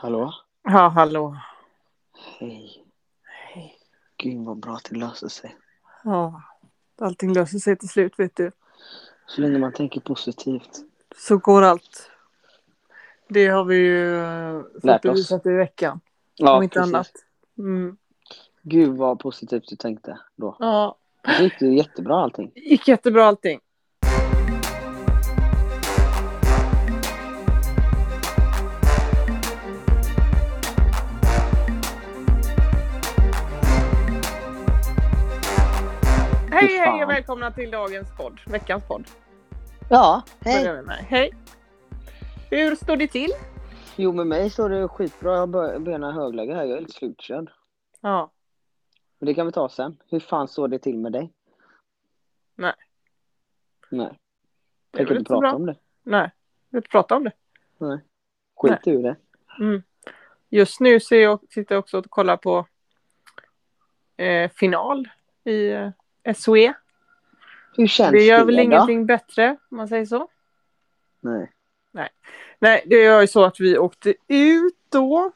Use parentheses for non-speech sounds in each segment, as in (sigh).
Hallå? Ja, hallå. Hej. Hej. Gud vad bra att det löser sig. Ja, allting löser sig till slut vet du. Så länge man tänker positivt. Så går allt. Det har vi ju eh, fått Lärt oss. bevisat i veckan. om inte annat. Mm. Gud vad positivt du tänkte då. Ja, Det gick ju jättebra allting. det gick jättebra allting. Hej, hej fan. och välkomna till dagens podd, veckans podd. Ja, Börjar vi med. hej. Hur står det till? Jo med mig står det skitbra. Jag har bör- benen högläge här. Jag är lite slutkörd. Ja. Men det kan vi ta sen. Hur fan står det till med dig? Nej. Nej. Det är Tänker inte väl inte så prata bra. om det. Nej, vi vill inte prata om det. Skit ur det. Mm. Just nu ser jag, sitter jag också och kollar på eh, final i eh, SOE. Hur känns Det det? gör väl då? ingenting bättre om man säger så. Nej. Nej, det gör ju så att vi åkte ut då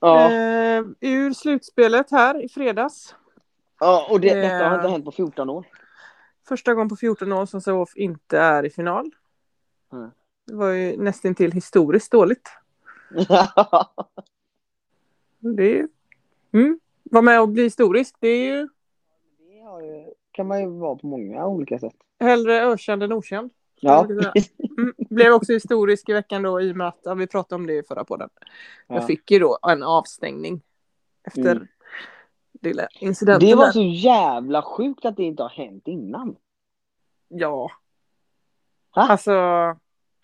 Ja. eh, ur slutspelet här i fredags. ja, och det, detta har eh, inte hänt på 14 år. (laughs) Första gången på 14 år som Sävehof inte är i final. Mm. Det var ju nästintill historiskt dåligt. Det är ju... mm. Var med och bli historisk, det är ju Det har ju- kan man ju vara på många olika sätt. hellre ökänd än okänd. Ja, det är Mm. Blev också historisk i veckan då i och med att ja, vi pratade om det i förra podden. Ja. Jag fick ju då en avstängning efter Mm. lilla incidenten. det var där. så jävla sjukt att det inte har hänt innan. Ja. Ha? Alltså,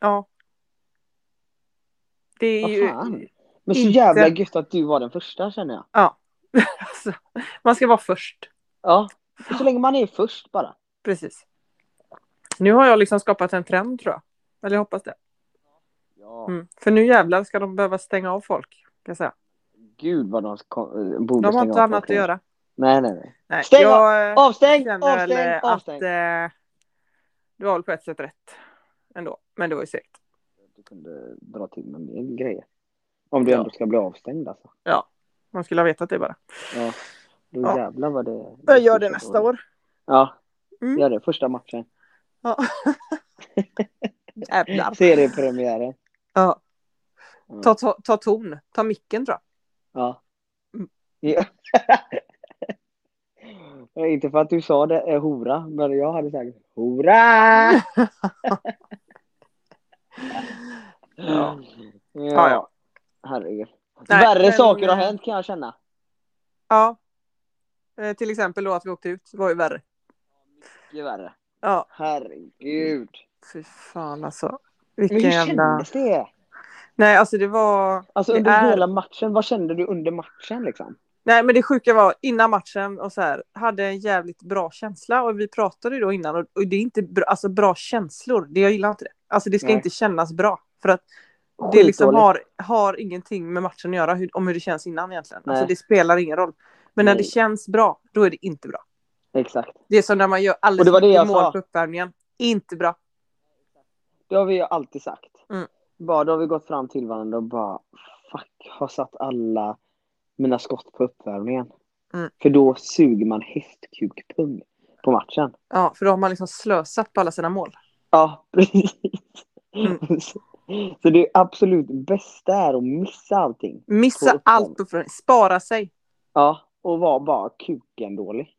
ja. Det är Vad ju... fan. Men så inte- jävla gött att du var den första känner jag. Alltså, man ska vara först. Ja, så länge man är först bara. Precis. Nu har jag liksom skapat en trend tror jag. Eller jag hoppas det. Ja, Mm. För nu jävlar ska de behöva stänga av folk. Kan jag säga. gud vad de kom, eh, borde De har stänga inte av annat att folk. göra. Nej, nej, nej. Nej, Stäng jag, eh, Avstäng, känner väl avstäng, eh, att avstäng. eh, du har väl på ett sätt rätt ändå. Men det var ju segt. Du kunde dra till med mer grejer. Om du Ja. ändå ska bli avstängd alltså. Man skulle ha vetat det bara. Ja, då Ja. jävlar vad det... Jag gör det nästa år. Ja, Mm. gör det. Första matchen. Ja. Jävlar. Seriepremiären. Ja. Ja. Ta, ta, ta ton. Ta micken tror jag. Ja. Mm. Ja. (laughs) Ja, Inte för att du sa det är hora, men jag hade sagt (laughs) hora! Ja. ja, ja. herregud. Nej, Värre men, saker har eh, hänt kan jag känna. Ja. Eh, till exempel då att vi åkte ut. Det var ju värre. Mycket värre. Ja. Herregud. Fy fan alltså. Men Vilken hur jävla... kändes det? Nej alltså det var... Alltså Det under är- hela matchen, vad kände du under matchen liksom? Nej men det sjuka var innan matchen och så här. Hade en jävligt bra känsla och vi pratade ju då innan och, och det är inte bra, alltså, bra känslor. Det, jag gillar inte det. Alltså det ska Nej. inte kännas bra. För att Det liksom Skitdåligt. har, har ingenting med matchen att göra, hur, om hur det känns innan egentligen. Alltså Nej. det spelar ingen roll. Men när Nej. det känns bra, då är det inte bra. Exakt. Det är som när man gör Och alldeles det var för det mycket jag mål sa. på uppvärmningen. Inte bra. Det har vi ju alltid sagt. Mm. Bara då har vi gått fram till varandra och bara fuck, har satt alla mina skott på uppvärmningen. Mm. För då suger man hästkukpung på matchen. Ja, för då har man liksom slösat på alla sina mål. Ja, (laughs) precis. Mm. Så- Så det absolut bästa är att missa allting. På Missa uppvärmning. allt på uppvärmningen. Spara sig. Ja, och vara bara kuken dålig.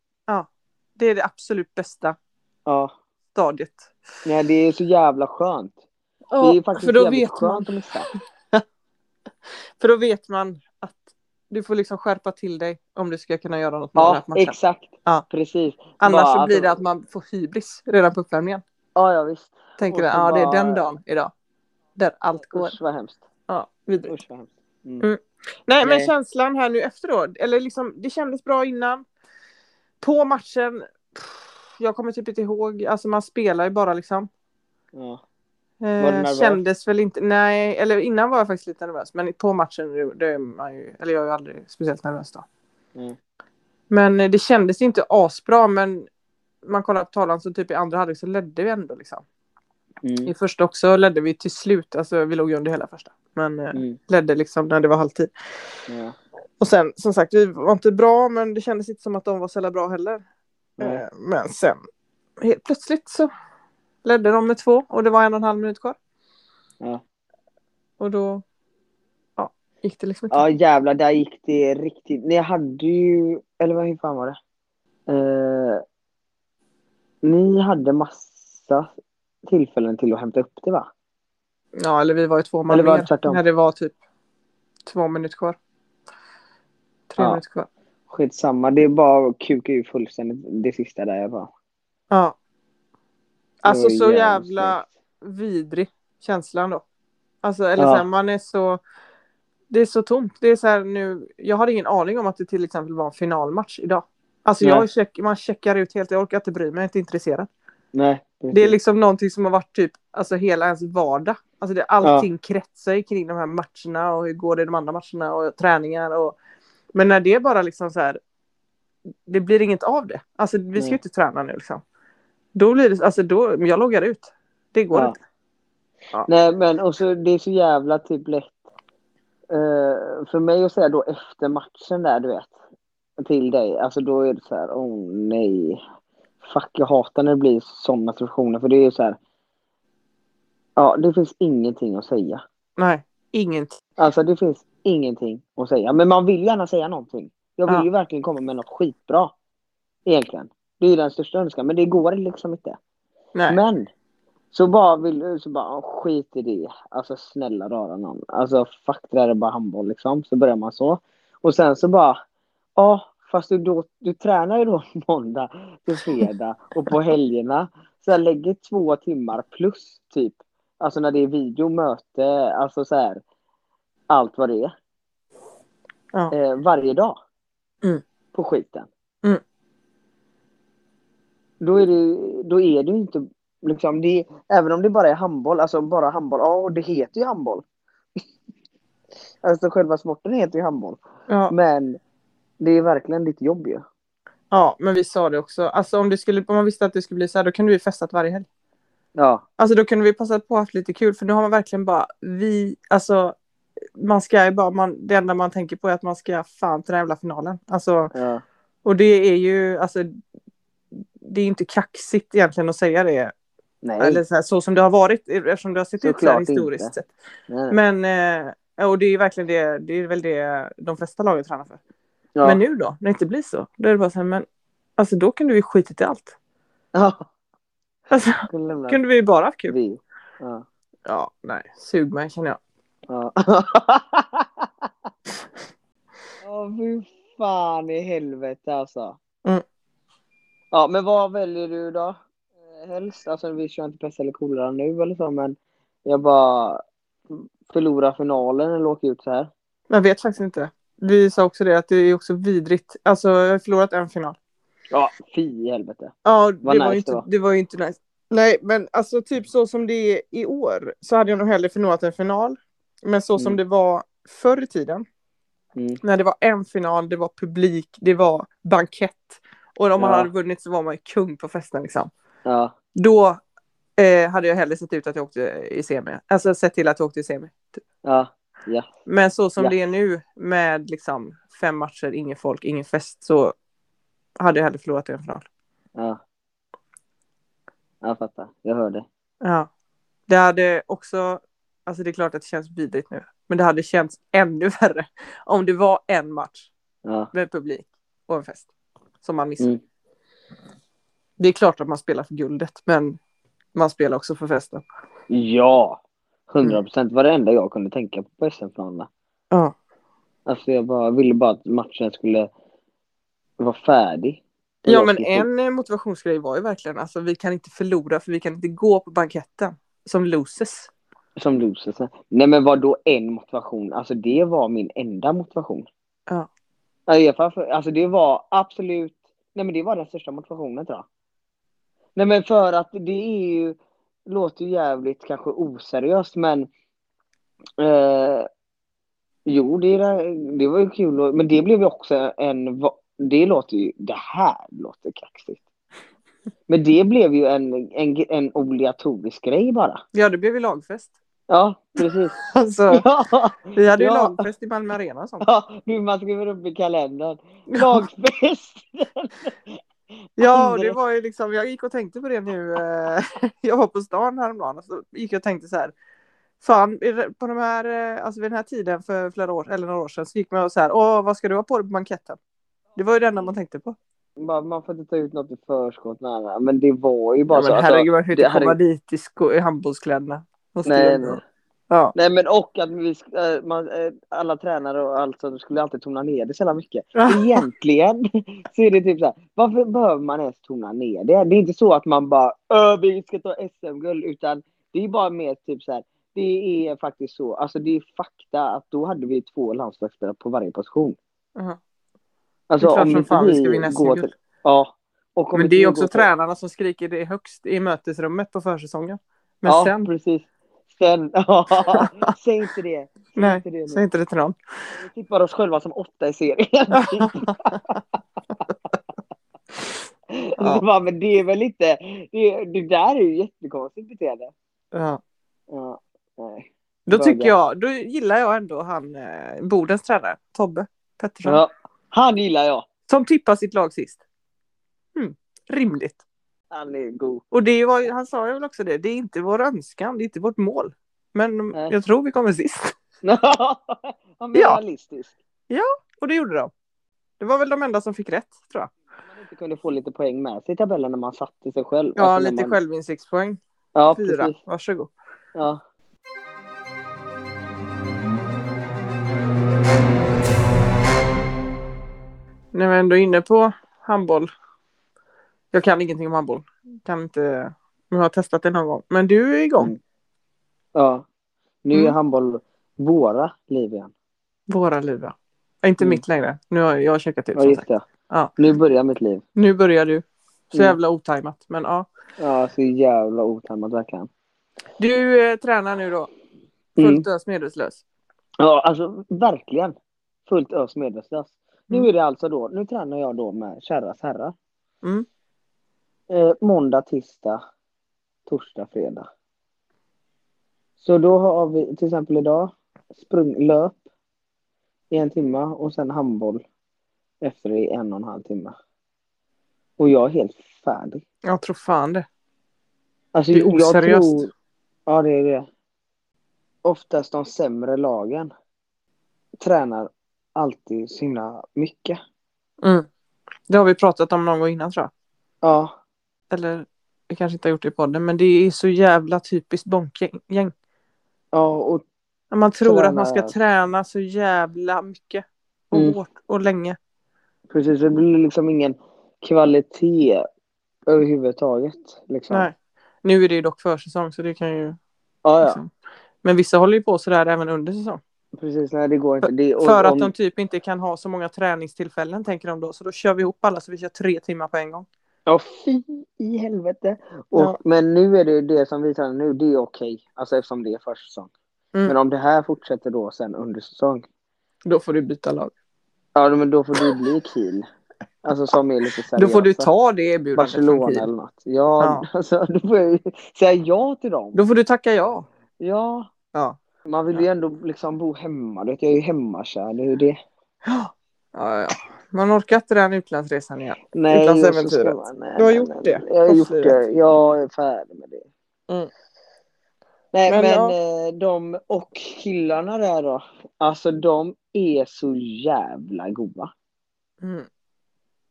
Det är det absolut bästa Ja, stadiet. nej det är så jävla skönt. Det är ju faktiskt för, då jävligt vet man, skönt att (laughs) missa. för då vet man att du får liksom skärpa till dig om du ska kunna göra något med den Ja, här matchen. exakt. Ja. Precis. Annars Bara så blir det alltså- att man får hybris redan på uppvärmningen. Ja, ja visst. Tänker Och att så ja, det är bara- den dagen idag. Där allt går. Usch vad hemskt. Ja, vidrigt. Usch vad hemskt. Mm. Mm. Nej, men Nej. känslan här nu efteråt. Eller liksom, det kändes bra innan. På matchen. pff, Jag kommer typ inte ihåg. Alltså man spelar ju bara liksom. Ja. du Eh, nervös? kändes väl inte. Nej, eller innan var jag faktiskt lite nervös. Men på matchen, det- det är man ju, eller jag är ju aldrig speciellt nervös då. Mm. Men eh, det kändes inte asbra. Men man kollar på tavlan så typ i andra halvlek så ledde vi ändå liksom. Mm. I första också ledde vi till slut, alltså vi låg ju under hela första. Men eh, Mm. ledde liksom när det var halvtid. Ja. Och sen som sagt, vi var inte bra men det kändes inte som att de var så jävla bra heller. Nej. Eh, Men sen helt plötsligt så ledde de med två och det var en och en halv minut kvar. Ja. Och då ja, gick det liksom inte. Ja jävlar, där gick det riktigt. Ni hade ju, eller vad hur fan var det? Eh, ni hade massa tillfällen till att hämta upp det va? Ja, eller vi var ju två man Eller var det mer tvärtom? när det var typ två minuter kvar. Tre Ja. minuter kvar. Skitsamma, det är bara att kuka ur fullständigt det sista där jag var. Det Ja. Alltså var så jävligt jävla snyggt. vidrig känslan då. Alltså eller Ja. så här, man är så det är så tomt. Det är så här nu, jag hade ingen aning om att det till exempel var en finalmatch idag. Alltså jag Nej. check, man checkar ut helt, jag orkar inte bry mig, jag är inte intresserad. Nej, Det är liksom någonting som har varit typ, alltså hela ens vardag. Alltså det, allting kretsar ju kring de här matcherna och hur går det i de andra matcherna och träningar och... Men när det är bara liksom så här, det blir inget av det. Alltså vi ska Nej. ju inte träna nu liksom. Då blir det, alltså då, men jag loggar ut. Det går Ja. inte. Nej men och så, det är så jävla typ lätt eh, för mig att säga då efter matchen där du vet. Till dig, alltså då är det så här, oh nej. Fuck jag hatar när det blir sådana situationer för det är ju så här. Ja det finns ingenting att säga. Nej, inget. Alltså det finns ingenting att säga. Men man vill gärna säga någonting. Jag vill Ja. ju verkligen komma med något skitbra. Egentligen. Det är ju den största önskan men det går liksom inte. Nej. Men så bara vill så bara "Åh, skit i det. Alltså snälla rara någon. Alltså fuck det där är bara handboll liksom. Så börjar man så. Och sen så bara ja fast du, då, du tränar ju då (laughs) måndag till fredag och på helgerna. Så jag lägger två timmar plus typ. Alltså när det är video, möte, alltså så här. Allt vad det är. Ja. Eh, varje dag. Mm. På skiten. Mm. Då är det, då är det ju inte liksom det, även om det bara är handboll, alltså bara handboll, ja och det heter ju handboll. (laughs) alltså själva sporten heter ju handboll. Ja. Men det är verkligen ditt jobb ju. ja, men vi sa det också. Alltså om, det skulle, om man visste att det skulle bli så här, då kunde vi festat varje helg. Ja, Alltså då kunde vi passat på att haft lite kul för nu har man verkligen bara vi, alltså man ska ju bara, man, det enda man tänker på är att man ska fan till den här jävla finalen. Alltså, ja, och det är ju, alltså det är inte kaxigt egentligen att säga det. nej. Eller så, här, så som det har varit eftersom det har sett ut så här Såklart historiskt inte. sett. nej, nej. Men, eh, och det är ju verkligen det, det är väl det de flesta lagen tränar för. Ja. Men nu då, när det inte blir så, då är det bara så här, men alltså då kunde vi skitit i allt. (laughs) (laughs) Ja, Alltså, kunde lämna kunde vi bara haft kul. vi. Ja, Ja, nej, sug mig känner jag. (laughs) ja. Åh, fy fan i helvete alltså. Mm. Ja, men vad väljer du då? Eh, Helst, alltså vi kör inte pest eller kolera nu eller så, men jag bara förlorar finalen eller åker ut så här. Jag vet faktiskt inte. Vi sa också det att det är också vidrigt. Alltså jag har förlorat en final. Ja, fy i helvete. Ja, det, Vad var ju nice inte, det var. det var ju inte nice. Nej, men alltså typ så som det är i år så hade jag nog hellre förlorat en final. Men så som Mm. det var förr i tiden, Mm. när det var en final, det var publik, det var bankett. Och om man Ja. hade vunnit så var man ju kung på festen liksom. Ja, Då eh, hade jag hellre sett ut att jag åkte i semi. Alltså sett till att jag åkte i semi. ja, ja. Men så som Ja. det är nu med liksom fem matcher, ingen folk, ingen fest så hade jag hellre förlorat i en final. Ja. Jag fattar. Jag hör dig. Ja. Det hade också, alltså det är klart att det känns vidrigt nu, men det hade känts ännu (laughs) värre om det var en match Ja. med publik och en fest som man missar. Mm. Det är klart att man spelar för guldet, men man spelar också för festen. Ja! 100 procent. var det enda jag kunde tänka på på SM-finalerna. Ja. Alltså jag bara ville bara att matchen skulle vara färdig. Och Ja jag men skulle- en eh, motivationsgrej var ju verkligen alltså vi kan inte förlora för vi kan inte gå på banketten som losers. Som losers. Nej men vad då en motivation? Alltså det var min enda motivation. Ja. Ja, i alla fall för- Alltså det var absolut, nej men det var den största motivationen tror jag. Nej men för att det är ju, låter ju jävligt kanske oseriöst men eh, Jo det, är- det var ju kul och, men det blev ju också en, va- det låter ju, det här låter kaxigt. Men det blev ju en, en, en obligatorisk grej bara. Ja, det blev ju lagfest. Ja, precis. Alltså, (laughs) (laughs) Ja, vi hade ju Ja. lagfest i Malmö Arena och sånt. ja, nu man skriver upp i kalendern. Lagfest! (laughs) (laughs) Ja, och Andra- det var ju liksom, jag gick och tänkte på det nu. eh, (laughs) Jag var på stan häromdagen och så gick jag och tänkte så här. Fan, är det- på de här, eh, alltså vid den här tiden för flera år, eller några år sedan, så gick man och så här, åh, vad ska du ha på dig på banketten? Det var ju det enda man tänkte på. Man, man får inte ta ut något i förskott. Nej, nej. Men det var ju bara Ja, så. men Alltså, herregud, man kan ju det inte hade- komma dit i, sko- i handbollskläderna. Måste nej, ju- nej. Ja. nej, men och att vi, sk- eh, man, eh, alla tränare och allt sånt skulle alltid tona ner det så jävla mycket. Egentligen (laughs) så är det typ så här. Varför behöver man ens tona ner det? Det är inte så att man bara "Ö, vi ska ta SM-guld utan det är bara mer typ så här. Det är faktiskt så. Alltså det är fakta att då hade vi två landslagsspelare på varje position. Mhm. Alltså Det är klart om som inte fan vi ska vinna går SM-guld. till, Ja. Och om Men inte det vi är går också till- tränarna som skriker det högst i mötesrummet på försäsongen. Men ja, sen, precis. Sen, (laughs) ja, säg inte det. Säg Nej, inte det nu. säg inte det till någon. Vi tippar oss själva som åtta i (laughs) serien. (laughs) Ja. Så bara, men det är väl inte, det, det där är ju jättekonstigt beteende. Ja. Ja, nej. Då Bögar. tycker jag, då gillar jag ändå han eh, Bodens tränare, Tobbe Pettersson. Ja, han gillar jag. Som tippar sitt lag sist. Mm, rimligt. Han är god. (laughs) Och det var, ju- han sa ju väl också det, det är inte vår önskan, det är inte vårt mål. Men Nej. jag tror vi kommer sist. han är Ja. realistisk. Och det gjorde de. Det var väl de enda som fick rätt, tror jag. Man inte kunde få lite poäng med sig i tabellen när man satte sig själv. Ja, Alltså när lite man... självinsiktspoäng. Ja, Fyra, precis. varsågod. Ja. När vi ändå är inne på handboll. Jag kan ingenting om handboll. Kan inte, men jag har testat det någon gång. Men du är igång. Mm. ja. Nu är Mm. handboll våra liv igen. Våra liv, ja. Ja, Inte Mm. mitt längre. Nu har jag, jag har checkat ut. Ja, som just sagt. det. Ja. Nu börjar mitt liv. Nu börjar du. Så Mm. jävla otajmat. Men ja. Ja, så jävla otajmat verkligen. Du eh, tränar nu då. Mm. Fullt ös, medelslös. Ja, alltså verkligen. Fullt ös medelslös. Nu Mm. är det alltså då, nu tränar jag då med Kärras herrar. Mm. Eh, måndag, tisdag, torsdag, fredag. Så då har vi till exempel idag sprung, löp i en timme och sen handboll efter det i en och en halv timme. Och jag är helt färdig. Jag tror fan det. Alltså, Det är jag oseriöst. tror- Ja, det är det. Oftast de sämre lagen tränar alltid så himla mycket. Mm. Det har vi pratat om någon gång innan tror jag. Ja, Eller vi kanske inte har gjort det i podden. Men det är så jävla typiskt bonkgäng. gäng. ja och När Man tror att man ska Tränar. träna så jävla mycket. Och Mm. hårt och länge. precis. Det blir liksom ingen kvalitet överhuvudtaget. Liksom. Nej. Nu är det ju dock försäsong så det kan ju... Ja, ja, Liksom. Men vissa håller ju på sådär även under säsong. precis. Nej, det går inte. Det, och, För om- att de typ inte kan ha så många träningstillfällen tänker de då. Så då kör vi ihop alla så vi kör tre timmar på en gång. Ja, fy i helvete. Och, Ja. Men nu är det det som vi tränar nu, det är okej. Alltså eftersom det är försäsong. Mm. Men om det här fortsätter då sen under säsong. Då får du byta lag. Ja, men då får du bli Kiel. Alltså som är lite seriösa. Då får du ta det erbjudandet från Barcelona Kiel. eller något. Ja, (laughs) alltså då får jag ju säga ja till dem. Då får du tacka ja. Ja. Ja. Man vill ju ändå liksom bo hemma. Du vet, jag är ju hemmakär. Det är ju det. Ja, ja. Man orkar inte den utlandsresan igen. Nej, och så ska Utlandsäventyret. man- nej, Du har nej, gjort nej, det. nej. Jag har gjort det. Proffslivet. Jag är färdig med det. Mm. Nej, men, Men ja. eh, de och killarna där då. Alltså de är så jävla goa. Mm.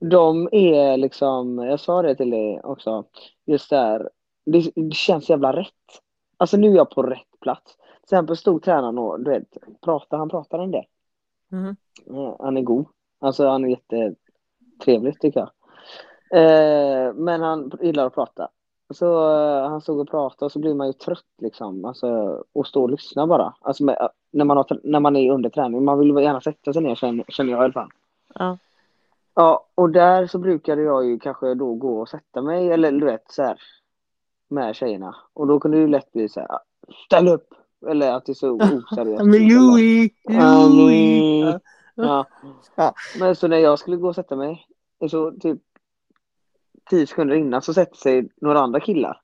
De är liksom, jag sa det till dig också, just där. Det, det känns jävla rätt. Alltså nu är jag på rätt plats. Till exempel stod tränaren och du vet, pratar, han pratar en del. Mhm. Ja, Eh, han är god. Alltså han är jättetrevlig tycker jag. Eh, men han gillar att prata. Så eh, han stod och pratade och så blir man ju trött liksom. Alltså och stå och lyssna bara. Alltså med, när, man har, tr- när man är under träning. Man vill väl gärna sätta sig ner känner, känner jag i alla fall. Ja. Ja, och där så brukade jag ju kanske då gå och sätta mig eller du vet så här med tjejerna. Och då kunde det ju lätt bli så här, "Ah, ställ upp! Eller att det är så oseriöst. liksom. Ja, men- Ja. Ja. Men så när jag skulle gå och sätta mig, så typ tio sekunder innan så sätter sig några andra killar.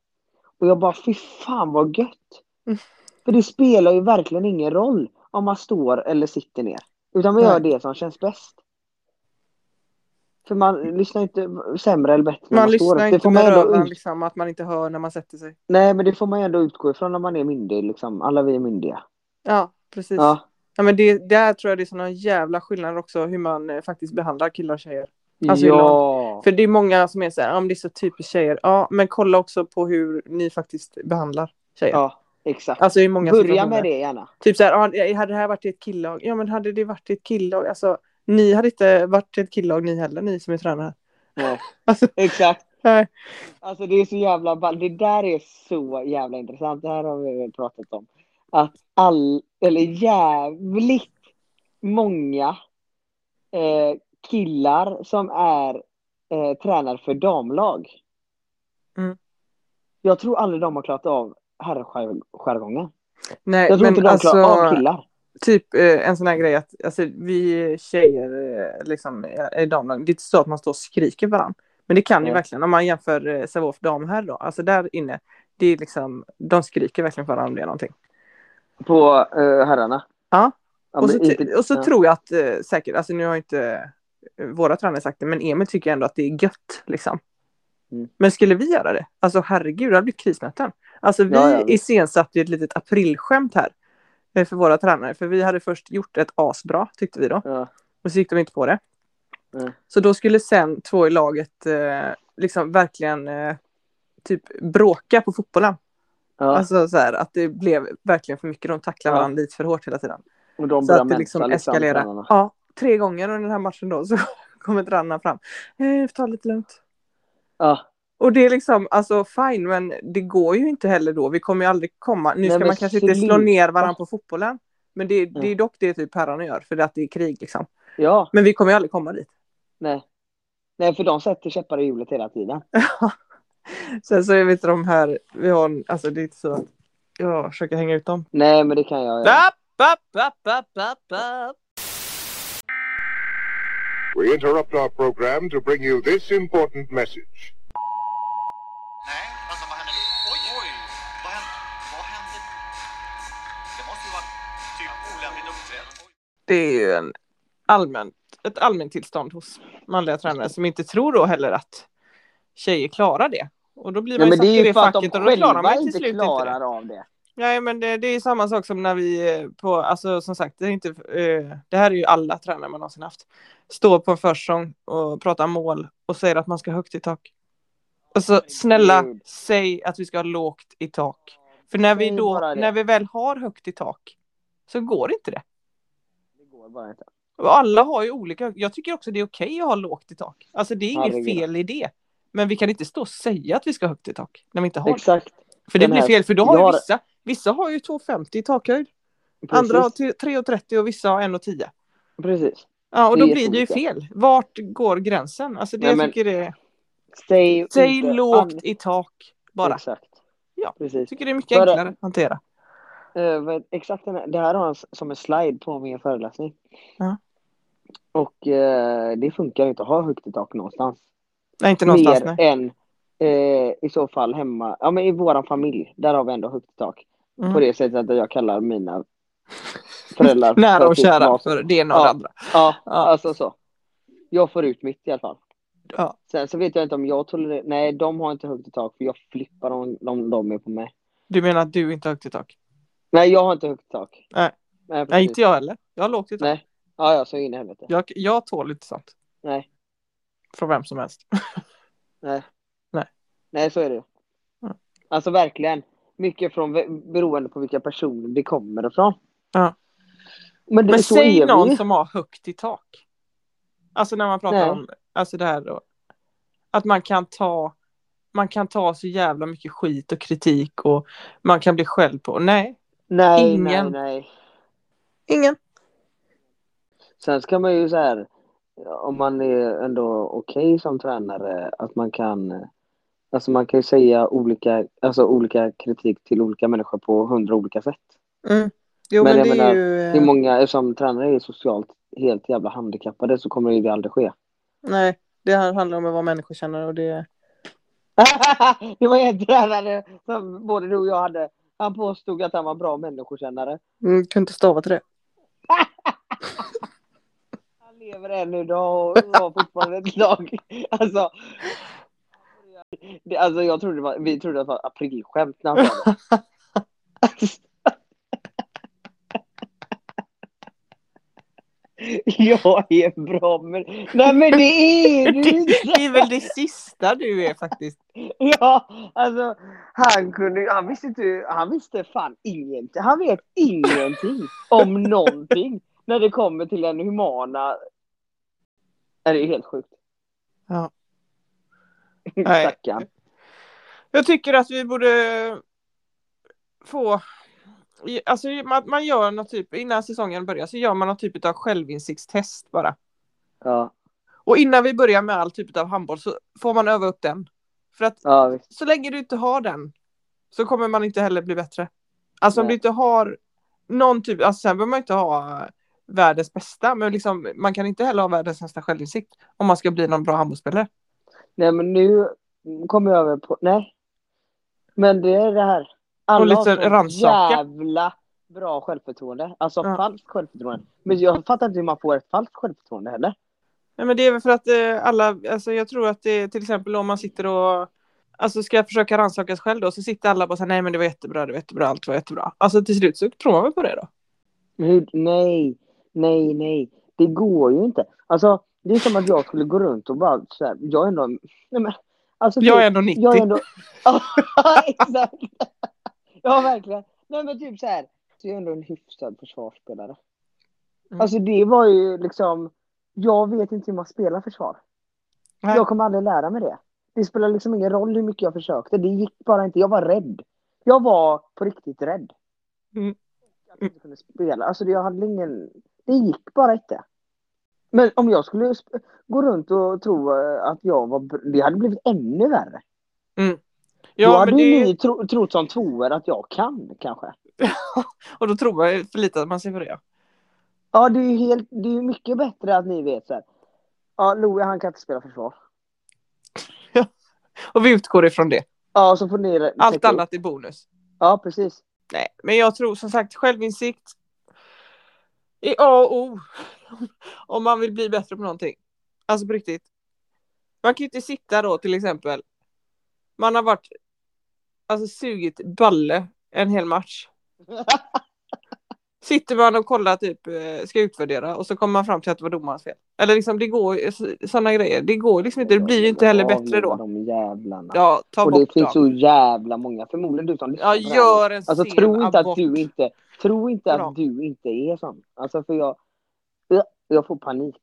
Och jag bara, fy fan vad gött! Mm. För det spelar ju verkligen ingen roll om man står eller sitter ner. Utan man Nej. gör det som känns bäst. För man lyssnar inte sämre eller bättre när Man står upp. lyssnar Det inte får med man ändå röven ut- liksom, att man inte hör när man sätter sig. Nej men det får man ju ändå utgå ifrån när man är myndig liksom. Alla vi är myndiga. Ja, precis. Ja. Ja. men det, där tror jag det är såna jävla skillnader också hur man eh, faktiskt behandlar killar och tjejer. Alltså, ja. För det är många som är så här, ja men det är så typiskt tjejer. Ja, men kolla också på hur ni faktiskt behandlar tjejer. ja, exakt. Alltså i många Börja situationer. med det gärna. Typ så här, ja, hade det här varit i ett killag? Ja men hade det varit i ett killag? Alltså ni hade inte varit i ett killag ni heller, ni som är tränare. Ja. (laughs) Alltså, Exakt. nej. Alltså det är så jävla ball. Det där är så jävla intressant. Det här har vi väl pratat om. Att all, eller jävligt många eh, killar som är eh, tränare för damlag. Mm. Jag tror aldrig de har klarat av herrskärgången. nej Jag tror men inte de alltså, klarar av killar. typ eh, en sån här grej att alltså, vi tjejer eh, liksom, eh, i damlag, det är inte så att man står och skriker varandra. Men det kan ju Nej. verkligen, om man jämför eh, Sävehof dam här då, alltså där inne, det är liksom, de skriker verkligen för varandra om det är någonting. På eh, herrarna. Ja. Ja, och så, men ty- inte- och så ja. tror jag att eh, säkert, alltså nu har inte eh, våra tränare sagt det, men Emil tycker ändå att det är gött liksom. Mm. Men skulle vi göra det? Alltså herregud, det hade blivit krismöten. Alltså vi Ja, ja, visst. iscensatte ju ett litet aprilskämt här eh, för våra tränare, för vi hade först gjort ett asbra tyckte vi då, Ja. och så gick de inte på det. Nej. Så då skulle sen två i laget eh, liksom verkligen eh, typ bråka på fotbollen. Ja. Alltså så här att det blev verkligen för mycket, de tacklade Ja. varandra lite för hårt hela tiden. och de Så börjar att det mensa liksom liksom, eskalerar. tränarna. ja, tre gånger under den här matchen då så (laughs) kommer tränarna fram. Eh, vi får ta det lite lugnt. Ja. Och det är liksom, alltså fine, men det går ju inte heller då. Vi kommer ju aldrig komma. Nu Nej, ska men Mm. man kanske inte slå sluta. ner varandra på fotbollen. Men det, det är dock det typ herrarna gör, för att det är krig liksom. ja. Men vi kommer ju aldrig komma dit. Nej. Nej, för de sätter käppar i hjulet hela tiden. Sen så är vi inte de här, vi har, en- alltså det är inte så att jag försöker hänga ut dem. Nej, men det kan jag göra. App, app, app, app, app, app. We interrupt our program to bring you this important message. Nej, vänta vad händer nu? Oj! Oj. Vad händer? Vad händer? Det måste ju vara typ olämpligt uppträdande. det är ju en allmän, ett allmänt tillstånd hos manliga tränare som inte tror då heller att tjejer klarar det. Och då blir man Nej, men ju satt det i är ju det för att facket de och då klarar själva man ju inte till slut inte det. klarar av det. Nej men det, det är ju samma sak som när vi eh, på, alltså som sagt, det, är inte, eh, det här är ju alla tränare man någonsin haft. Står på en försång och pratar mål och säger att man ska högt i tak. Alltså snälla, Herregud. säg att vi ska ha lågt i tak. För när vi Säg då, bara det. när vi väl har högt i tak så går det inte det. Det går bara inte. Och alla har ju olika. Jag tycker också det är okej att ha lågt i tak. Alltså det är inget Herregud. fel i det. Men vi kan inte stå och säga att vi ska ha högt i tak när vi inte har det. Exakt. För det den blir här- fel, för då har jag ju har- vissa, vissa har ju 2,50 i takhöjd. Precis. Andra har typ- till 3,30 och vissa har 1,10. Precis. Ja, och Det då är blir det ju jätteolika. fel. fel. Vart går gränsen? Alltså det Nej, jag men- tycker det är... Säg, Säg inte lågt an- i tak bara. Exakt. Ja. Precis. Jag tycker det är mycket Bara- enklare att hantera. Eh, vad- exakt den här, det här har han s- som en slide på min föreläsning. Ja. Och eh, det funkar inte att ha högt i tak någonstans. Nej, inte någonstans. Mer Nej. än eh, i så fall hemma, ja men i våran familj, där har vi ändå högt i tak. Mm. På det sättet att jag kallar mina föräldrar (laughs) Nära och sitt kära, mas. för det ena och Ja. det andra. Ja, Ja. alltså så. Jag får ut mitt i alla fall. Ja. Sen så vet jag inte om jag tolererar, nej de har inte högt i tak för jag flippar om de, de är på mig. Du menar att du inte har högt i tak? Nej jag har inte högt i tak. Nej. Nej, precis. Nej, inte jag heller. Jag har lågt i tak. Nej. Ja, ja, så in i helvete. Jag, jag tål inte sånt. Nej. Från vem som helst. Nej, så är det ju. Ja. Alltså verkligen. Mycket från, beroende på vilka personer det kommer ifrån. Ja. Men, det, Men så säg är vi ju. någon som har högt i tak. Alltså när man pratar Nej. om alltså det här då. Att man kan ta man kan ta så jävla mycket skit och kritik och man kan bli skälld på. Nej, Nej, Ingen. nej, nej. ingen. Sen ska man ju så här, om man är ändå okej som tränare, att man kan Alltså man kan ju säga olika, alltså olika kritik till olika människor på hundra olika sätt. Jo Men Mm. men, jag det är menar, ju... eh, Hur många, som tränare är socialt helt jävla handikappade så kommer det ju aldrig ske. Nej, det här handlar om att vara människokänner och det... (laughs) det var en tränare som både du och jag hade. Han påstod att han var bra människokännare. Mm, kan inte stava till det. Han lever än idag och har fortfarande ett lag. (laughs) Alltså, det, alltså jag trodde det var, vi trodde att det var aprilskämt när han sa det. (laughs) Jag är bra men... Nej men det är du inte! Det är väl det sista du är faktiskt. (laughs) Ja, alltså han kunde han visste inte, han visste fan ingenting. Han vet ingenting (laughs) om någonting när det kommer till den humana. Nej, det är helt sjukt. (laughs) Ja. Nej. Stackarn. Jag tycker att vi borde få... i- Alltså man, man gör något typ, innan säsongen börjar så gör man någon typ av självinsiktstest bara. Ja, Och innan vi börjar med all typ av handboll så får man öva upp den. För att ja visst. så länge du inte har den så kommer man inte heller bli bättre. Alltså om Nej. du inte har någon typ, alltså sen behöver man inte ha världens bästa, men liksom, man kan inte heller ha världens sämsta självinsikt om man ska bli någon bra handbollsspelare. Nej men nu kommer jag över på, nej. Men det är det här. Alla Och lite har så rannsaka. jävla bra självförtroende. Alltså Ja. falskt självförtroende. Men jag fattar inte hur man får ett falskt självförtroende heller. Nej, men det är väl för att eh, alla, alltså jag tror att det till exempel om man sitter och Alltså ska jag försöka rannsaka sig själv då så sitter alla bara så här, nej men det var jättebra, det var jättebra, allt var jättebra. Alltså till slut så tror man väl på det då. Men Hur, nej, nej, nej. Det går ju inte. Alltså, det är som att jag skulle gå runt och bara så här, jag är ändå... Nej, men, alltså, Jag typ, är ändå 90. Jag är ändå... (laughs) Ja, exakt. Ja, verkligen. Nej, men typ så här. Så jag är ändå en hyfsad försvarsspelare. Mm. Alltså det var ju liksom... Jag vet inte hur man spelar försvar. Nej. Jag kommer aldrig lära mig det. Det spelar liksom ingen roll hur mycket jag försökte. Det gick bara inte. Jag var rädd. Jag var på riktigt rädd. Mm. Jag inte kunde spela. Alltså det, jag hade ingen... Det gick bara inte. Men om jag skulle sp- gå runt och tro eh, att jag var... br- Det hade blivit ännu värre. Ja, då mm. Ja, hade men ju det, ni tro, trott som tvåor att jag kan kanske. (laughs) och då tror man, förlitar man sig på det. ja. Ja, det är ju helt, det är ju mycket bättre att ni vet så här. Ja, Loe han kan inte spela försvar. Och vi utgår ifrån det. Ja, så får ni re- Allt täcka upp. annat är bonus. Ja, (laughs) precis. Nej, men jag tror som sagt självinsikt är A och O (laughs) om man vill bli bättre på någonting. Alltså på riktigt. Man kan ju inte sitta då till exempel. Man har varit alltså sugit balle en hel match. Sitter man och kollar typ eh, ska utvärdera och så kommer man fram till att det var domarens fel. Eller liksom det går sådana grejer. Det går liksom inte. Det blir ju inte heller bättre Avliva då. De jävlarna. Ja, ta Och det bort finns dem. så jävla många. Förmodligen du som lyssnar Ja, på det här nu. gör en Alltså sen tro inte att abort. du inte, tro inte Bra. att du inte är sån. Alltså för jag, jag, jag får panik.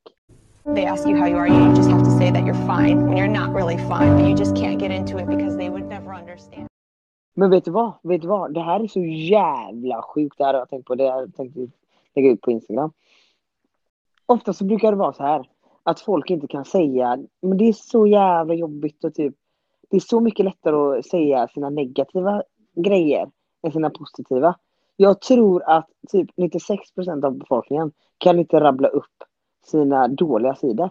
They ask you how you are, you just have to say that you're fine when you're not really fine, but you just can't get into it because they would never understand. Men vet du vad? Vet du vad? Det här är så jävla sjukt. Det här har jag tänkt på. Det har jag tänkt lägga ut på Instagram. Ofta så brukar det vara så här. Att folk inte kan säga. Men det är så jävla jobbigt och typ. Det är så mycket lättare att säga sina negativa grejer. Än sina positiva. Jag tror att typ 96% av befolkningen kan inte rabbla upp sina dåliga sidor.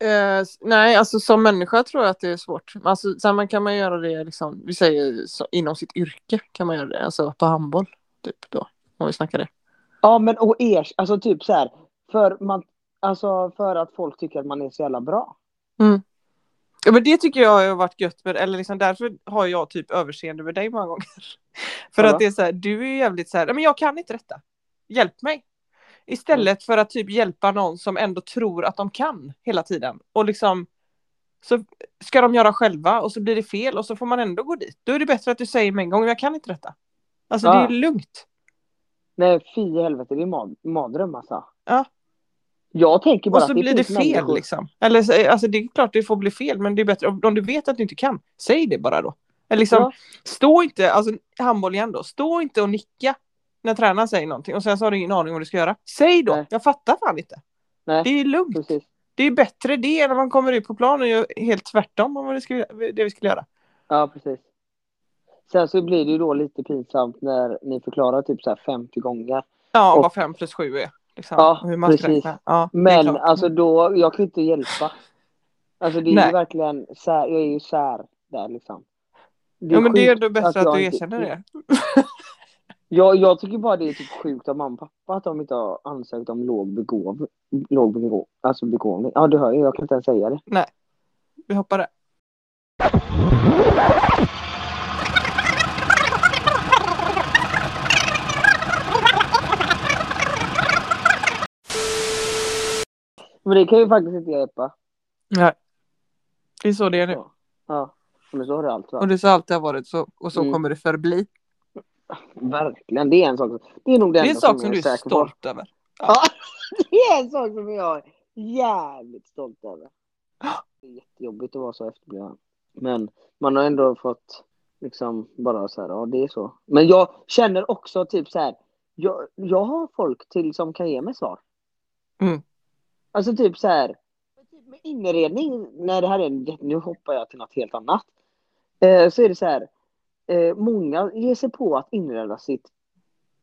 Eh, s- nej, alltså som människa tror jag att det är svårt. Men Alltså, sen man kan man göra det liksom, vi säger så, inom sitt yrke kan man göra det, alltså på handboll typ då, om vi snackar det. Ja men och er, alltså typ så här. För, man, alltså, för att folk tycker att man är så jävla bra. Ja, men det tycker jag har varit gött med, eller liksom därför har jag typ överseende med dig många gånger. (laughs) För Ja. att det är så här, du är ju jävligt så här, "Nej, men jag kan inte detta, hjälp mig. Istället för att typ hjälpa någon som ändå tror att de kan hela tiden och liksom så ska de göra själva och så blir det fel och så får man ändå gå dit. Då är det bättre att du säger med en gång, jag kan inte detta. Alltså det Ja. är lugnt. Nej, fy i helvete, det är mad mardröm alltså. Ja. Jag tänker bara Och så blir det fel människor- liksom. Eller så- alltså det är klart det får bli fel men det är bättre om om du vet att du inte kan. Säg det bara då. Eller liksom, Ja. stå inte, alltså handboll igen då, stå inte och nicka när tränaren säger någonting och sen så har du ingen aning om vad du ska göra. Säg då, Nej. jag fattar fan inte. Nej. Det är lugnt. Precis. Det är bättre det än när man kommer ut på plan och gör helt tvärtom om vad det, ska, det vi skulle göra. Ja, precis. Sen så blir det ju då lite pinsamt när ni förklarar typ så här 50 gånger. Ja, Och- vad fem plus sju är. Liksom, Ja, och hur man ska precis. räkna. Ja, det är Men klart. alltså då, jag kan ju inte hjälpa. Alltså det är Nej. ju verkligen, sär, jag är ju sär. där liksom. Det Ja men det är ändå sjukt bättre att, jag du inte- erkänner det. Jag, jag tycker bara det är typ sjukt av mamma och pappa att de inte har ansökt om låg begåvning. Låg begåv, alltså begåvning. Ja du hör ju, jag kan inte ens säga det. Vi hoppar det. Men det kan ju faktiskt inte jag hjälpa. Det är så det är nu. Ja. Ja, men så har det alltid Och varit. det så alltid har varit så, och så Mm. kommer det förbli. Verkligen, det är en sak. Det är nog det Det är en enda sak jag som du är säker på. stolt över. Ja, (laughs) det är en sak som jag är jävligt stolt över. Det är jättejobbigt att vara så efterbliven. Men man har ändå fått liksom bara så här, ja det är så. Men jag känner också typ så här, jag, jag har folk till som kan ge mig svar. Mm. Alltså typ så här, typ med inredning, när det här är, en- nu hoppar jag till något helt annat. Eh, så är det så här, eh, många ger sig på att inreda sitt,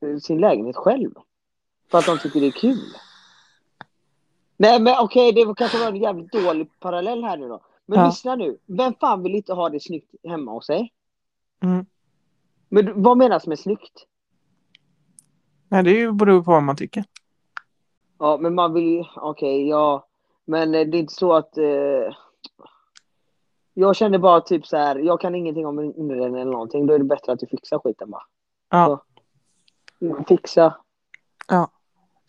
eh, sin lägenhet själv. För att de tycker det är kul. Nej men okej, det var kanske var en jävligt dålig parallell här nu då. Men Ja. lyssna nu. Vem fan vill inte ha det snyggt hemma hos sig? Mm. Men du- vad menas med snyggt? Nej det är ju- beror på vad man tycker. Ja, men man vill... Okej, ja. Men eh, det är inte så att... Eh... Jag känner bara typ så här, jag kan ingenting om inredning eller någonting. Då är det bättre att du fixar skiten bara. Ja. Mm. Fixa.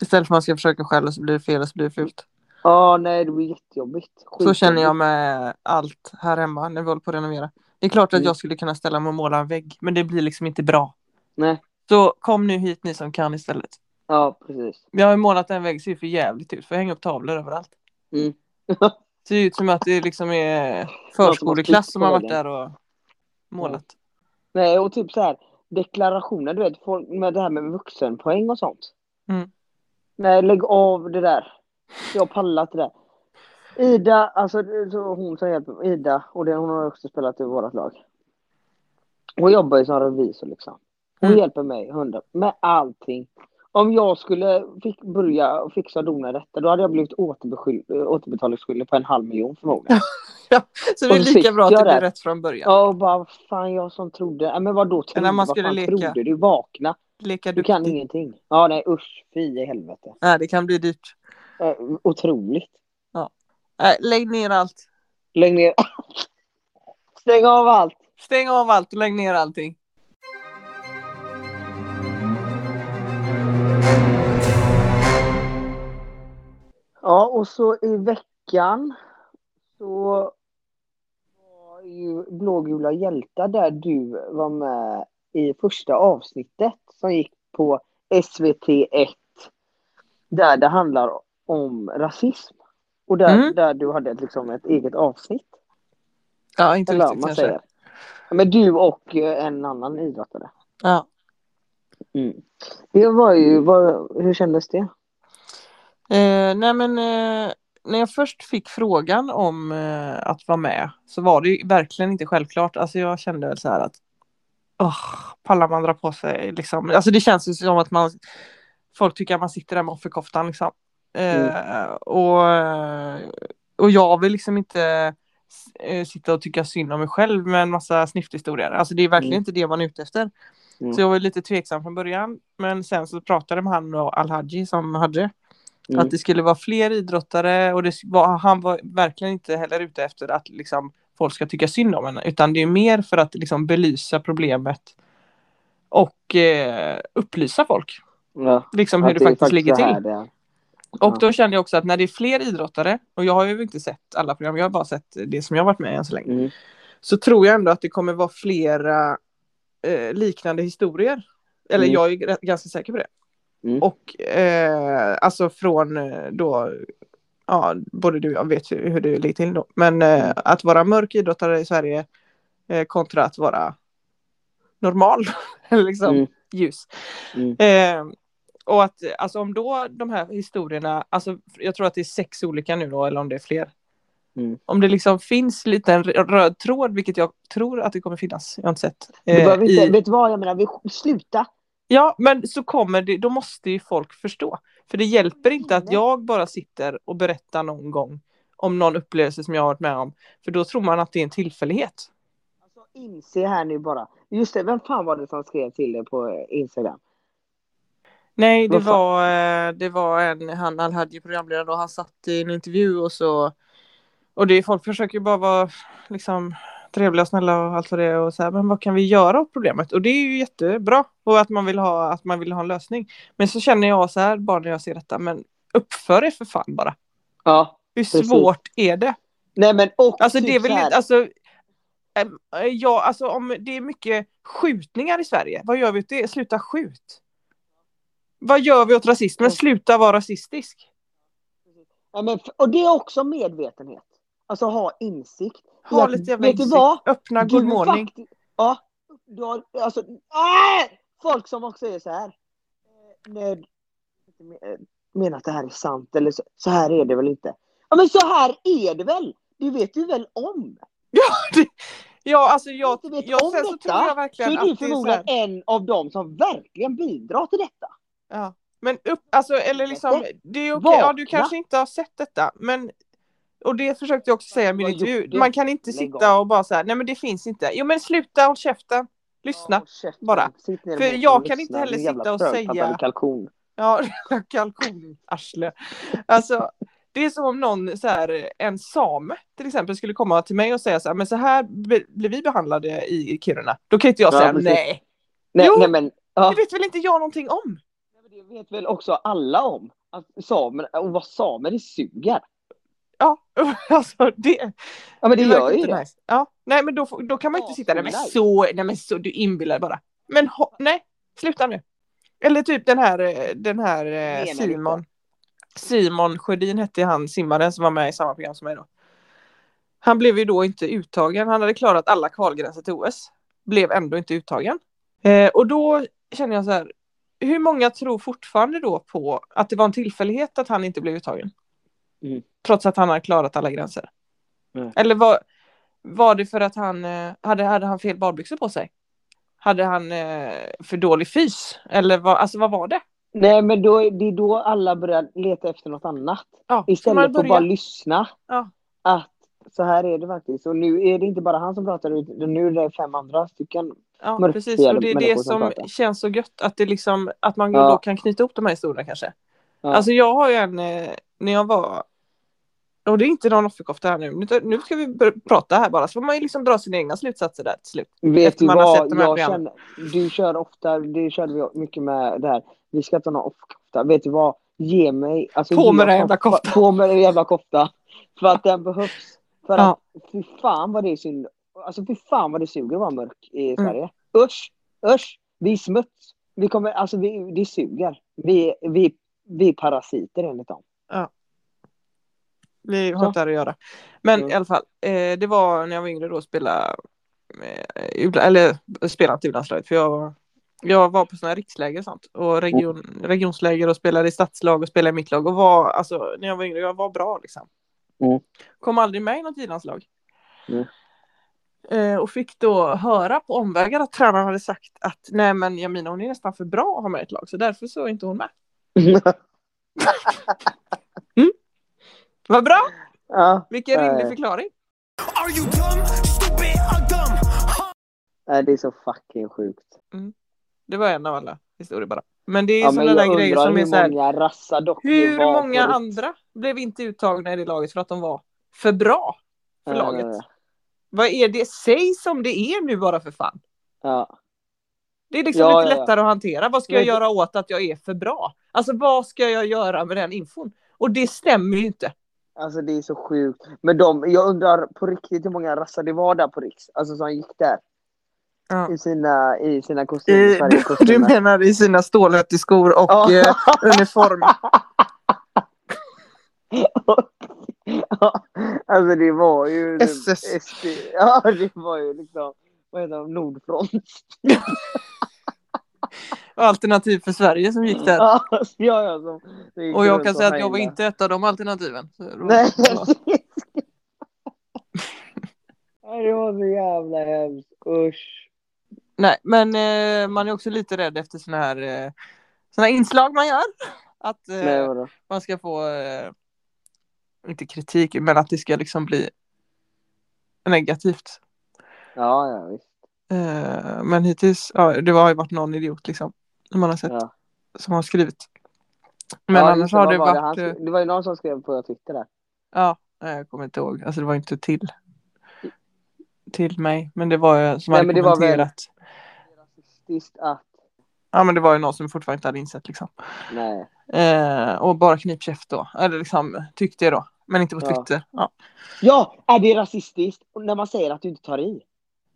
Istället för att man ska försöka själv så blir det fel och så blir det fult. Ja, nej, det blir jättejobbigt. Så känner jag Skitjobbigt. med allt här hemma när vi håller på att renovera. Det är klart att Mm. jag skulle kunna ställa mig och måla en vägg, men det blir liksom inte bra. Nej. Så kom nu hit ni som kan istället. Ja, precis. Jag har ju målat en vägg, ser för jävligt ut, för jag hänger upp tavlor överallt. Mm. (laughs) ser ut som att det liksom är har förskoleklass som har varit klippt på där och målat. Nej, och typ så här deklarationer, du vet, folk med det här med vuxenpoäng och sånt. Mm. Nej, lägg av det där. Jag har pallat det där. Ida, alltså det- så hon som hjälper mig, Ida, och det, hon har också spelat i vårt lag. Hon jobbar ju som revisor liksom. Hon Mm. hjälper mig hundra, med allting. Om jag skulle fick börja och fixa och dona detta, då hade jag blivit återbeskyld- eh, återbetalningsskyldig på en halv miljon förmodligen. (laughs) Så det är Och lika fick bra att det jag blir det. rätt från början. Ja, och bara vad fan jag som trodde. Nej, men vadå trodde? Eller man Vad skulle fan leka. trodde du? Vakna. Leka Du kan duktig. ingenting. Ja, nej usch. Fy i helvete. Nej, det kan bli dyrt. Eh, otroligt. Nej, lägg ner allt. Lägg ner (laughs) Stäng av allt. Stäng av allt och lägg ner allting. Ja, och så i veckan så var ju Blågula hjältar där du var med i första avsnittet som gick på SVT1. Där det handlar om rasism. Och där, Mm. där du hade ett, liksom ett eget avsnitt. Ja, inte Eller vad riktigt man Typ, kanske. säger. Men du och eh, en annan idrottare. Mm. Ja. Det var ju, vad, hur kändes det? Eh, nej, men eh, när jag först fick frågan om eh, att vara med så var det ju verkligen inte självklart. Alltså jag kände väl så här att åh, pallar man dra på sig liksom. Alltså det känns ju som att man folk tycker att man sitter där med offerkoftan liksom. Mm. Eh, och, och jag vill liksom inte eh, sitta och tycka synd om mig själv med en massa snyfthistorier. Alltså det är verkligen Mm. inte det man är ute efter. Mm. Så jag var lite tveksam från början. Men sen så pratade jag med han och Alhaji som hade Mm. att det skulle vara fler idrottare och det var, han var verkligen inte heller ute efter att liksom, folk ska tycka synd om henne utan det är mer för att liksom, belysa problemet och eh, upplysa folk Ja, liksom, att hur det, faktiskt, är ligger så här till. det är. Och Ja. då kände jag också att när det är fler idrottare och jag har ju inte sett alla program, jag har bara sett det som jag har varit med i än så länge Mm. så tror jag ändå att det kommer vara flera eh, liknande historier. Eller Mm. jag är rätt- ganska säker på det. Mm. Och eh, alltså från eh, då, ja, både du och jag vet ju hur det ligger till då. Men Mm. eh, att vara mörk idrottare i Sverige eh, kontra att vara normal, (laughs) eller liksom Mm. ljus. Mm. Eh, och att alltså om då de här historierna, alltså jag tror att det är sex olika nu då, eller om det är fler Mm. om det liksom finns lite en r- röd tråd, vilket jag tror att det kommer finnas. Jag har inte sett. Du behöver eh, inte, i- Vet du vad jag menar? Vi, sluta! Ja, men så kommer det, då måste ju folk förstå. För det hjälper inte att jag bara sitter och berättar någon gång om någon upplevelse som jag har varit med om. För då tror man att det är en tillfällighet. Alltså, inse här nu bara. Just det, vem fan var det som skrev till dig på eh, Instagram? Nej, det Vad fan? var, eh, det var en, han Alhaji programledare och han satt i en intervju och så och det är folk försöker ju bara vara liksom trevliga och snälla och allt vad det är och så här, men vad kan vi göra åt problemet? Och det är ju jättebra och att man vill ha, att man vill ha en lösning. Men så känner jag så här bara när jag ser detta, men uppför er för fan bara. Ja. Hur Precis. svårt är det? Nej men och Alltså typ det är väl så här- inte, alltså, äm, äh, ja, alltså om det är mycket skjutningar i Sverige, vad gör vi åt det? Sluta skjut. Vad gör vi åt rasismen? Mm. Sluta vara rasistisk. Ja, men, f- och det är också medvetenhet. Alltså ha insikt. Ha Ja, lite jävla vet du insikt. vad? Öppna Du good är morning. fakti- Ja. Du har, alltså, nej! Folk som också är så här. eh, Nej, inte me- eh, menar att det här är sant eller så, så här är det väl inte. Ja men så här är det väl! Det vet du väl om? Ja, alltså jag, Om du inte vet jag, om sen så detta, tror jag Så verkligen är du att det är så här, förmodligen en av dem som verkligen bidrar till detta. ja. Men upp, alltså eller liksom, det är okej, ja du Vakna. kanske inte har sett detta, men och det försökte jag också säga i min Jag intervju, gjorde. man kan inte Lägg sitta av. och bara så här, nej men det finns inte, jo men sluta, håll käften, lyssna. Ja, håll käften. bara. Sitt ner i För båten jag och kan lyssna, inte heller din jävla sitta och fröpappad säga- kalkon. Ja, (laughs) kalkonarsle. Alltså, det är som om någon, så här, en same till exempel, skulle komma till mig och säga så här, men så här be- blir vi behandlade i i Kiruna. Då kan inte jag Ja, säga precis. nej. Nej, Jo. nej men, ja. Det vet väl inte jag någonting om? Nej, men det vet väl också alla om. Att samer, och vad samer är suger. Ja, (laughs) alltså det. Ja men det, verkar gör ju inte det. Nice. Ja, nej men då, får- då kan man inte Ja, sitta så där, men nice. så, nej men så, du inbillar dig bara. Men ho, nej, sluta nu. Eller typ den här, eh, den här eh, Menar inte. Simon. Simon Sjödin hette han, simmaren som var med i samma program som mig då. Han blev ju då inte uttagen, han hade klarat alla kvalgränser till OS. Blev ändå inte uttagen. Eh, och då känner jag så här, hur många tror fortfarande då på att det var en tillfällighet att han inte blev uttagen? Mm. Trots att han har klarat alla gränser. Mm. Eller var, var det för att han eh, hade, hade han fel badbyxor på sig? Hade han eh, för dålig fys? Eller vad, alltså, vad var det? Nej men då, är- det är då alla börjar leta efter något annat. Ja, så man Istället för att bara börjar- lyssna. Ja. Att så här är det faktiskt. Och nu är det inte bara han som pratar utan nu är det fem andra stycken. Ja, mörkt precis. fel Och det är människor det som som pratar. känns så gött, att, det liksom, att man Ja. då kan knyta ihop de här historierna kanske. Ja. Alltså jag har ju en, eh, när jag var, och det är inte någon offerkofta här nu, nu, nu ska vi bör- prata här bara, så får man ju liksom dra sina egna slutsatser där till slut. Vet Efter du man har sett vad, de här jag programmen. känner, du kör ofta, det körde vi mycket med det här. Vi ska inte ha någon ofta. Vet du vad, ge mig. Alltså, På ge med oss den jävla något- koftan. På med den jävla koftan. För att den behövs. För Ja. att fy fan vad det är synd. Alltså fy fan vad det suger att vara mörk i Mm. Sverige. Usch, usch. Vi är smuts. Vi kommer, alltså vi, det suger. Vi, vi, vi är parasiter enligt dem. Vi har Så. inte här att göra. Men Mm. i alla fall, eh, det var när jag var yngre då spela, eh, u- eller spela inte utlandslaget för jag, var- jag var på sådana här riksläger och sånt Mm. och region, regionsläger och spelade i stadslag och spelade i mitt lag och var, alltså när jag var yngre, jag var bra liksom. Mm. Kom aldrig med i något i-landslag. Mm. Eh, och fick då höra på omvägar att tränaren hade sagt att nej men Jamina hon är nästan för bra att ha med i ett lag så därför så är inte hon med. mm. Vad bra! ja, Vilken rimlig Eh. förklaring. Are you dumb, stupid, or dumb? nej, det är så fucking sjukt. Det var en av alla historier bara. Men det är Ja, men sådana där jag grejer undrar som är så hur här. många rassar dock Hur många andra blev inte uttagna i det laget för att de var för bra för laget? Vad är det? Säg som det är nu bara för fan. Ja. Det är liksom Ja, lite ja, ja. lättare att hantera. Vad ska jag Men- göra åt att jag är för bra? Alltså vad ska jag göra med den infon? Och det stämmer ju inte. Alltså det är så sjukt. Men de, jag undrar på riktigt hur många rassar det var där på Riks. Alltså som gick där. Ja. I sina, i sina kostymer. Sverigekostymer. Eh, menar i sina stålhätteskor och eh, Ja. uniform? (laughs) Ja, alltså det var ju... SS. SD, (laughs) ja, det var ju liksom... Vad heter de? Nordfront. Alternativ för Sverige som (laughs) gick där. Ja, ja, ja, som, som gick Och jag runt kan säga att jag hejlade. var inte ett av de alternativen. Så- (laughs) Nej, Ja. (laughs) Ja, det var så jävla hemskt. Usch. Nej, men eh, man är också lite rädd efter såna här, eh, såna här inslag man gör. Att eh, Nej, vadå? man ska få, eh, inte kritik, men att det ska liksom bli negativt. Ja, ja, visst. Eh, men hittills, ja, det har ju varit någon idiot liksom. Som man har sett, Ja. som har skrivit. Men Ja, annars just har vad det var varit, Det, eh, han, det var ju någon som skrev på Twitter där. ja, nej, jag kommer inte ihåg. Alltså det var inte till. Till mig, men det var ju som Nej, hade men det var väl- kommenterat. Rasistiskt att... Ja men det var ju någon som fortfarande inte hade insett liksom. Nej. Eh, och bara knipkäft då. Eller liksom tyckte jag då. Men inte på Ja. Twitter. Ja. Ja! Är det rasistiskt när man säger att du inte tar i?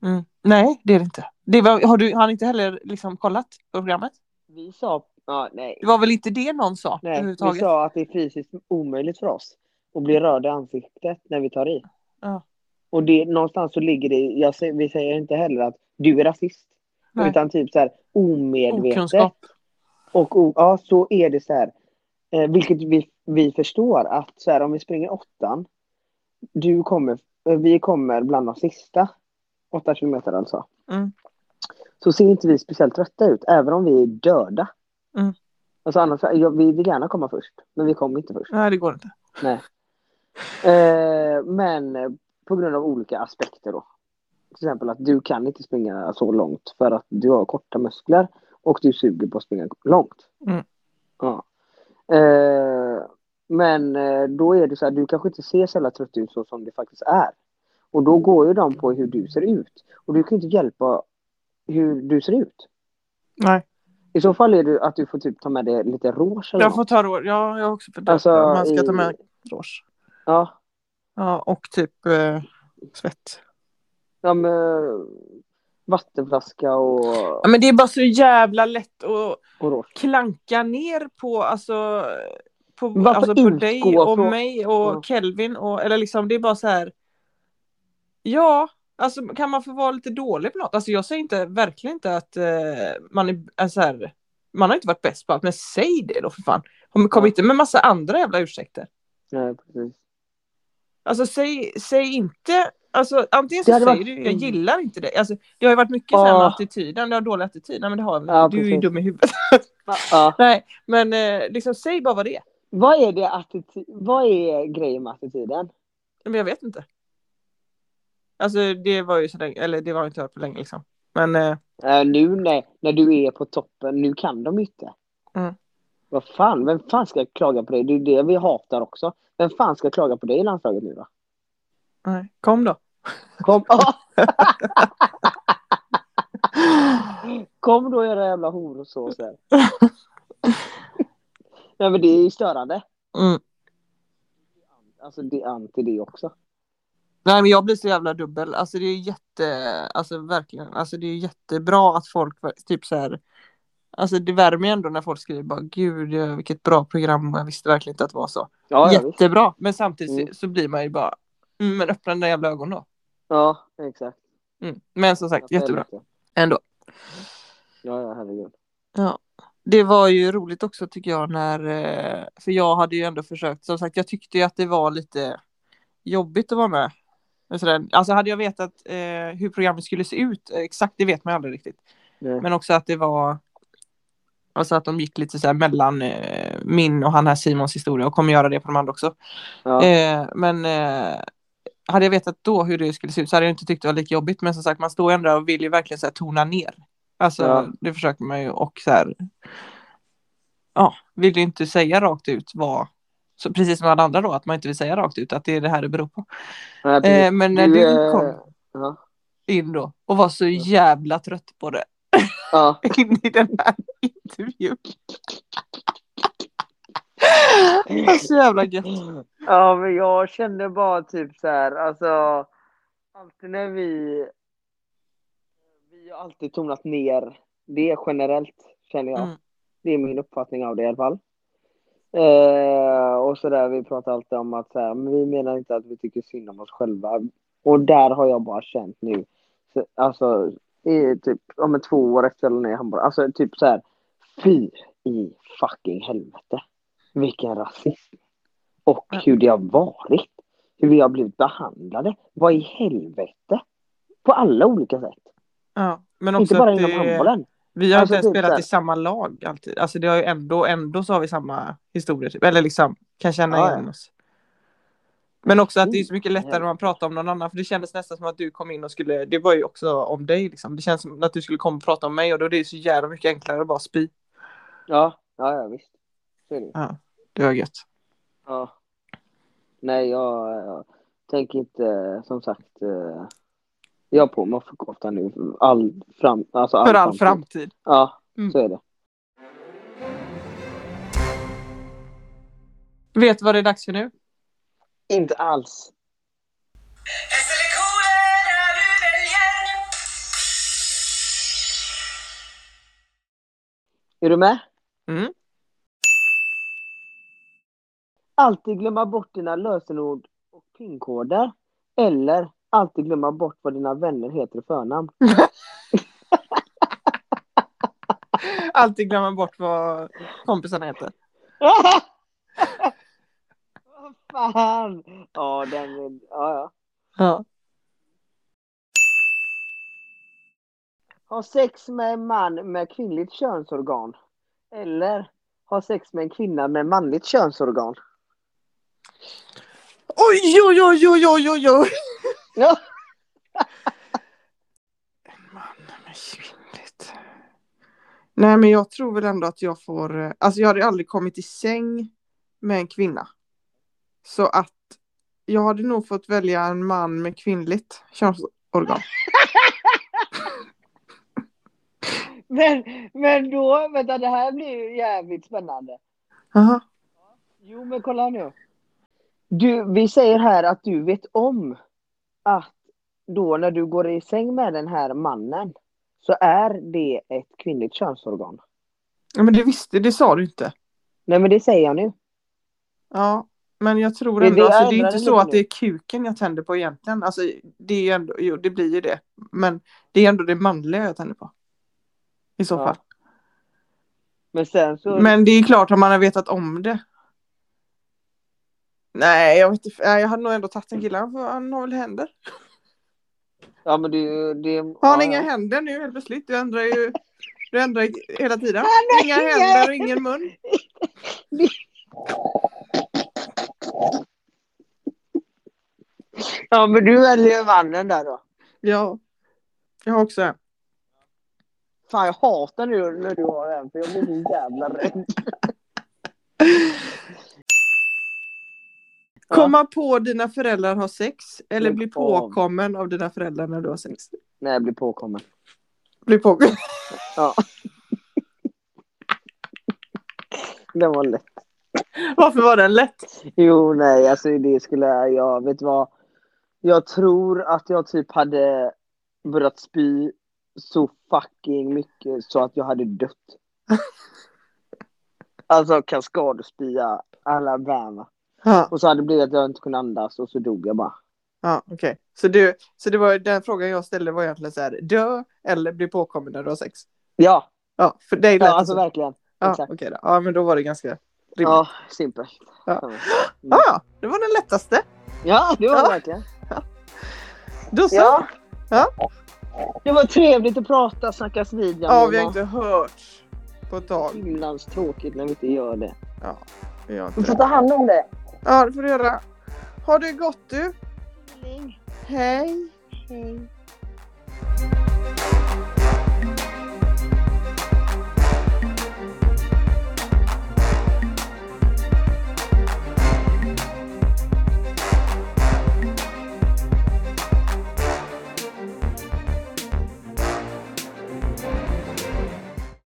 Mm. Nej det är det inte. Det var, har, du, har ni inte heller liksom kollat på programmet? Vi sa... Ja, nej. Det var väl inte det någon sa nej. Vi överhuvudtaget? sa att det är fysiskt omöjligt för oss att bli röda i ansiktet när vi tar i. Ja. Och det, någonstans så ligger det... Jag, sä- vi säger inte heller att du är rasist. Nej. Utan typ så här omedvetet. Okunskap. Och o- ja, så är det så här. Eh, vilket vi, vi förstår att så här, om vi springer åttan. Du kommer, eh, vi kommer bland de sista. Åtta kilometer alltså. Mm. Så ser inte vi speciellt trötta ut, även om vi är döda. Mm. Alltså annars, ja, vi vill gärna komma först, men vi kommer inte först. Nej det går inte. Eh, men eh, på grund av olika aspekter då. Till exempel att du kan inte springa så långt för att du har korta muskler och du suger på att springa långt. Mm. Ja. Eh, men eh, då är det så här, du kanske inte ser så jävla trött ut så som det faktiskt är. Och då går ju de på hur du ser ut. Och du kan ju inte hjälpa hur du ser ut. Nej. I så fall är det att du får typ ta med dig lite rouge eller Jag får något. ta råd. Ja jag har också funderat. Alltså, Man ska i- ta med rås. Ja, Ja och typ eh, svett. ja men, vattenflaska och, Ja, men det är bara så jävla lätt att och rouge. klanka ner på, alltså, på, Varför alltså, på utgå dig och från- mig och Ja. Kelvin. Och, eller liksom, det är bara så här. Ja, alltså kan man få vara lite dålig på något? Alltså jag säger inte, verkligen inte att eh, man är, är så här. Man har inte varit bäst på allt, men säg det då för fan. Kom, kom Ja. inte med massa andra jävla ursäkter. Nej, precis. Alltså säg, säg inte, alltså antingen Det så hade säger varit- du jag gillar inte dig. Alltså, det har ju varit mycket så här med Ja. attityden, du har dålig attityd. Nej men det har jag väl Ja, inte. Du är ju precis. dum i huvudet. (laughs) Ja. Nej, men eh, liksom säg bara vad det är. Vad är det attityd, vad är grejen med attityden? Men jag vet inte. Alltså det var ju så länge, eller det var inte hört på länge liksom. Men eh, Eh, nu när, när du är på toppen, nu kan de inte. Mm. Vad fan, vem fan ska klaga på dig? Det är ju det vi hatar också. Vem fan ska klaga på dig i landslaget nu då? nej, (laughs) kom då. Kom, Ah! Kom då era jävla horosåser. Nej men det är ju störande. Mm. Alltså det är anti det också. Nej men jag blir så jävla dubbel. Alltså det är jätte, alltså verkligen, alltså det är jättebra att folk ver- typ så här. Alltså det värmer ju ändå när folk skriver bara gud eh, vilket bra program och jag visste verkligen inte att det var så. Ja, ja, visst. Jättebra men samtidigt Mm. så, så blir man ju bara mm, men öppna dina jävla ögon då. ja exakt. Mm. Men som sagt jättebra ändå. Ja, ja, herregud. Det var ju roligt också tycker jag när, eh, för jag hade ju ändå försökt, som sagt jag tyckte ju att det var lite jobbigt att vara med. Och sådär. Alltså hade jag vetat eh, hur programmet skulle se ut, eh, exakt det vet man ju aldrig riktigt. Nej. Men också att det var, alltså att de gick lite så här mellan eh, min och han här Simons historia och kommer göra det på de andra också. Ja. Eh, men eh, hade jag vetat då hur det skulle se ut så hade jag inte tyckt det var lika jobbigt. Men som sagt, man står ju ändå och vill ju verkligen så här, tona ner. Alltså, Ja. det försöker man ju och så här. Ja, vill ju inte säga rakt ut vad, så precis som alla andra då, att man inte vill säga rakt ut att det är det här det beror på. Nej, precis. Eh, men när du, eh, kom ja. in då och var så jävla trött på det (laughs) Ja. in i den här (laughs) intervjun. Så jävla gött. Ja, men jag kände bara typ så här, alltså. Alltid när vi. Vi har alltid tonat ner det generellt, känner jag. Mm. Det är min uppfattning av det i alla fall. Eh, och så där, vi pratar alltid om att så här, men vi menar inte att vi tycker synd om oss själva. Och där har jag bara känt nu, så, alltså i typ om ett två år efter eller när jag hamnar, alltså typ så här, fy i fucking helvete. Vilken rasism. Och hur det har varit. Hur vi har blivit behandlade. Vad i helvete? På alla olika sätt. Ja, men Inte också bara att inom det- handbollen. Vi har Alltså, inte ens typ spelat så här. i samma lag alltid. Alltså det har ju ändå, ändå så har vi samma historia typ. Eller liksom kan känna Ja, igen oss. Men också att det är så mycket lättare när man pratar om någon annan, för det kändes nästan som att du kom in och skulle, det var ju också om dig liksom. Det känns som att du skulle komma och prata om mig och då är det ju så jävla mycket enklare att bara spy. Ja, ja, ja visst. Så är det ju. Det var gött. Ja. Nej, jag, jag tänker inte, eh, som sagt. eh, Jag har på mig offerkoftan nu. för All fram, alltså För all framtid. Ja, Mm. så är det. Vet du vad det är dags för nu? (laughs) Inte alls. Är du med? Mm. Alltid glömma bort dina lösenord och pinkoder. Eller alltid glömma bort vad dina vänner heter i förnamn. (laughs) Alltid glömma bort vad kompisarna heter. Vad fan! Ja, den... är- Ja, ja. Ja. Ha sex med en man med kvinnligt könsorgan. Eller ha sex med en kvinna med manligt könsorgan. Oj, oj, oj, oj, oj, oj, oj. Ja. (laughs) Man, men kvinnligt. Nej, men jag tror väl ändå att jag får... eh, Alltså jag hade aldrig kommit i säng med en kvinna. Så att jag hade nog fått välja en man med kvinnligt könsorgan. Men, men då, vänta det här blir ju jävligt spännande. Jaha. Jo men kolla nu. Du, vi säger här att du vet om att då när du går i säng med den här mannen så är det ett kvinnligt könsorgan. Ja, men det visste, det sa du inte. Nej men det säger jag nu. Ja, men jag tror Det- ändå, det alltså, det är ändrar inte det så lite att det är kuken jag tänder på egentligen. Alltså, det är ju ändå, jo, det blir ju det. Men det är ändå det manliga jag tänder på. I så Ja. fall. Men sen så... Men det är klart, om man har vetat om det. Nej, jag vet inte. Nej, Jag hade nog ändå tagit en kille. Han får- Han har väl händer. Ja men det... det Har han ja, inga ja. händer nu helt plötsligt? Du ändrar ju du ändrar ju hela tiden. har Inga inga händer och ingen mun. Ja men du väljer ju mannen där då. Ja. Jag har också en. Fan jag hatar nu när du har en för jag blir så jävla rädd. Ja. (laughs) Komma på dina föräldrar har sex eller Lägg bli av. påkommen av dina föräldrar när du har sex. När jag blir påkommen. Bli påkommen. (laughs) Ja. Det var lätt. Varför var den lätt? Jo, nej, alltså det skulle jag, jag, vet du vad? Jag tror att jag typ hade börjat spy så fucking mycket så att jag hade (laughs) dött. Alltså kaskadspya Alabama. Ja, Och så hade det blivit att jag inte kunde andas och så dog jag bara. ja okej. Så, du, så det var den frågan jag ställde var egentligen så här, dö eller bli påkommen när du har sex? Ja, Ja, för dig lät ja det alltså så. verkligen. ja, exakt. okej då. ja, men då var det ganska rimligt. Ja, Ja. simpelt. Ja. Mm. ja, det var den lättaste. Ja, det var det Ja. verkligen. Då så. Ja, Ja. Det var trevligt att prata, snackas vid. vi har inte hört på ett tag. Himlans tråkigt när vi inte gör det. Vi har Du inte får det. ta hand om det. Ja, det får du göra. Har det gott du. Hej. Hej.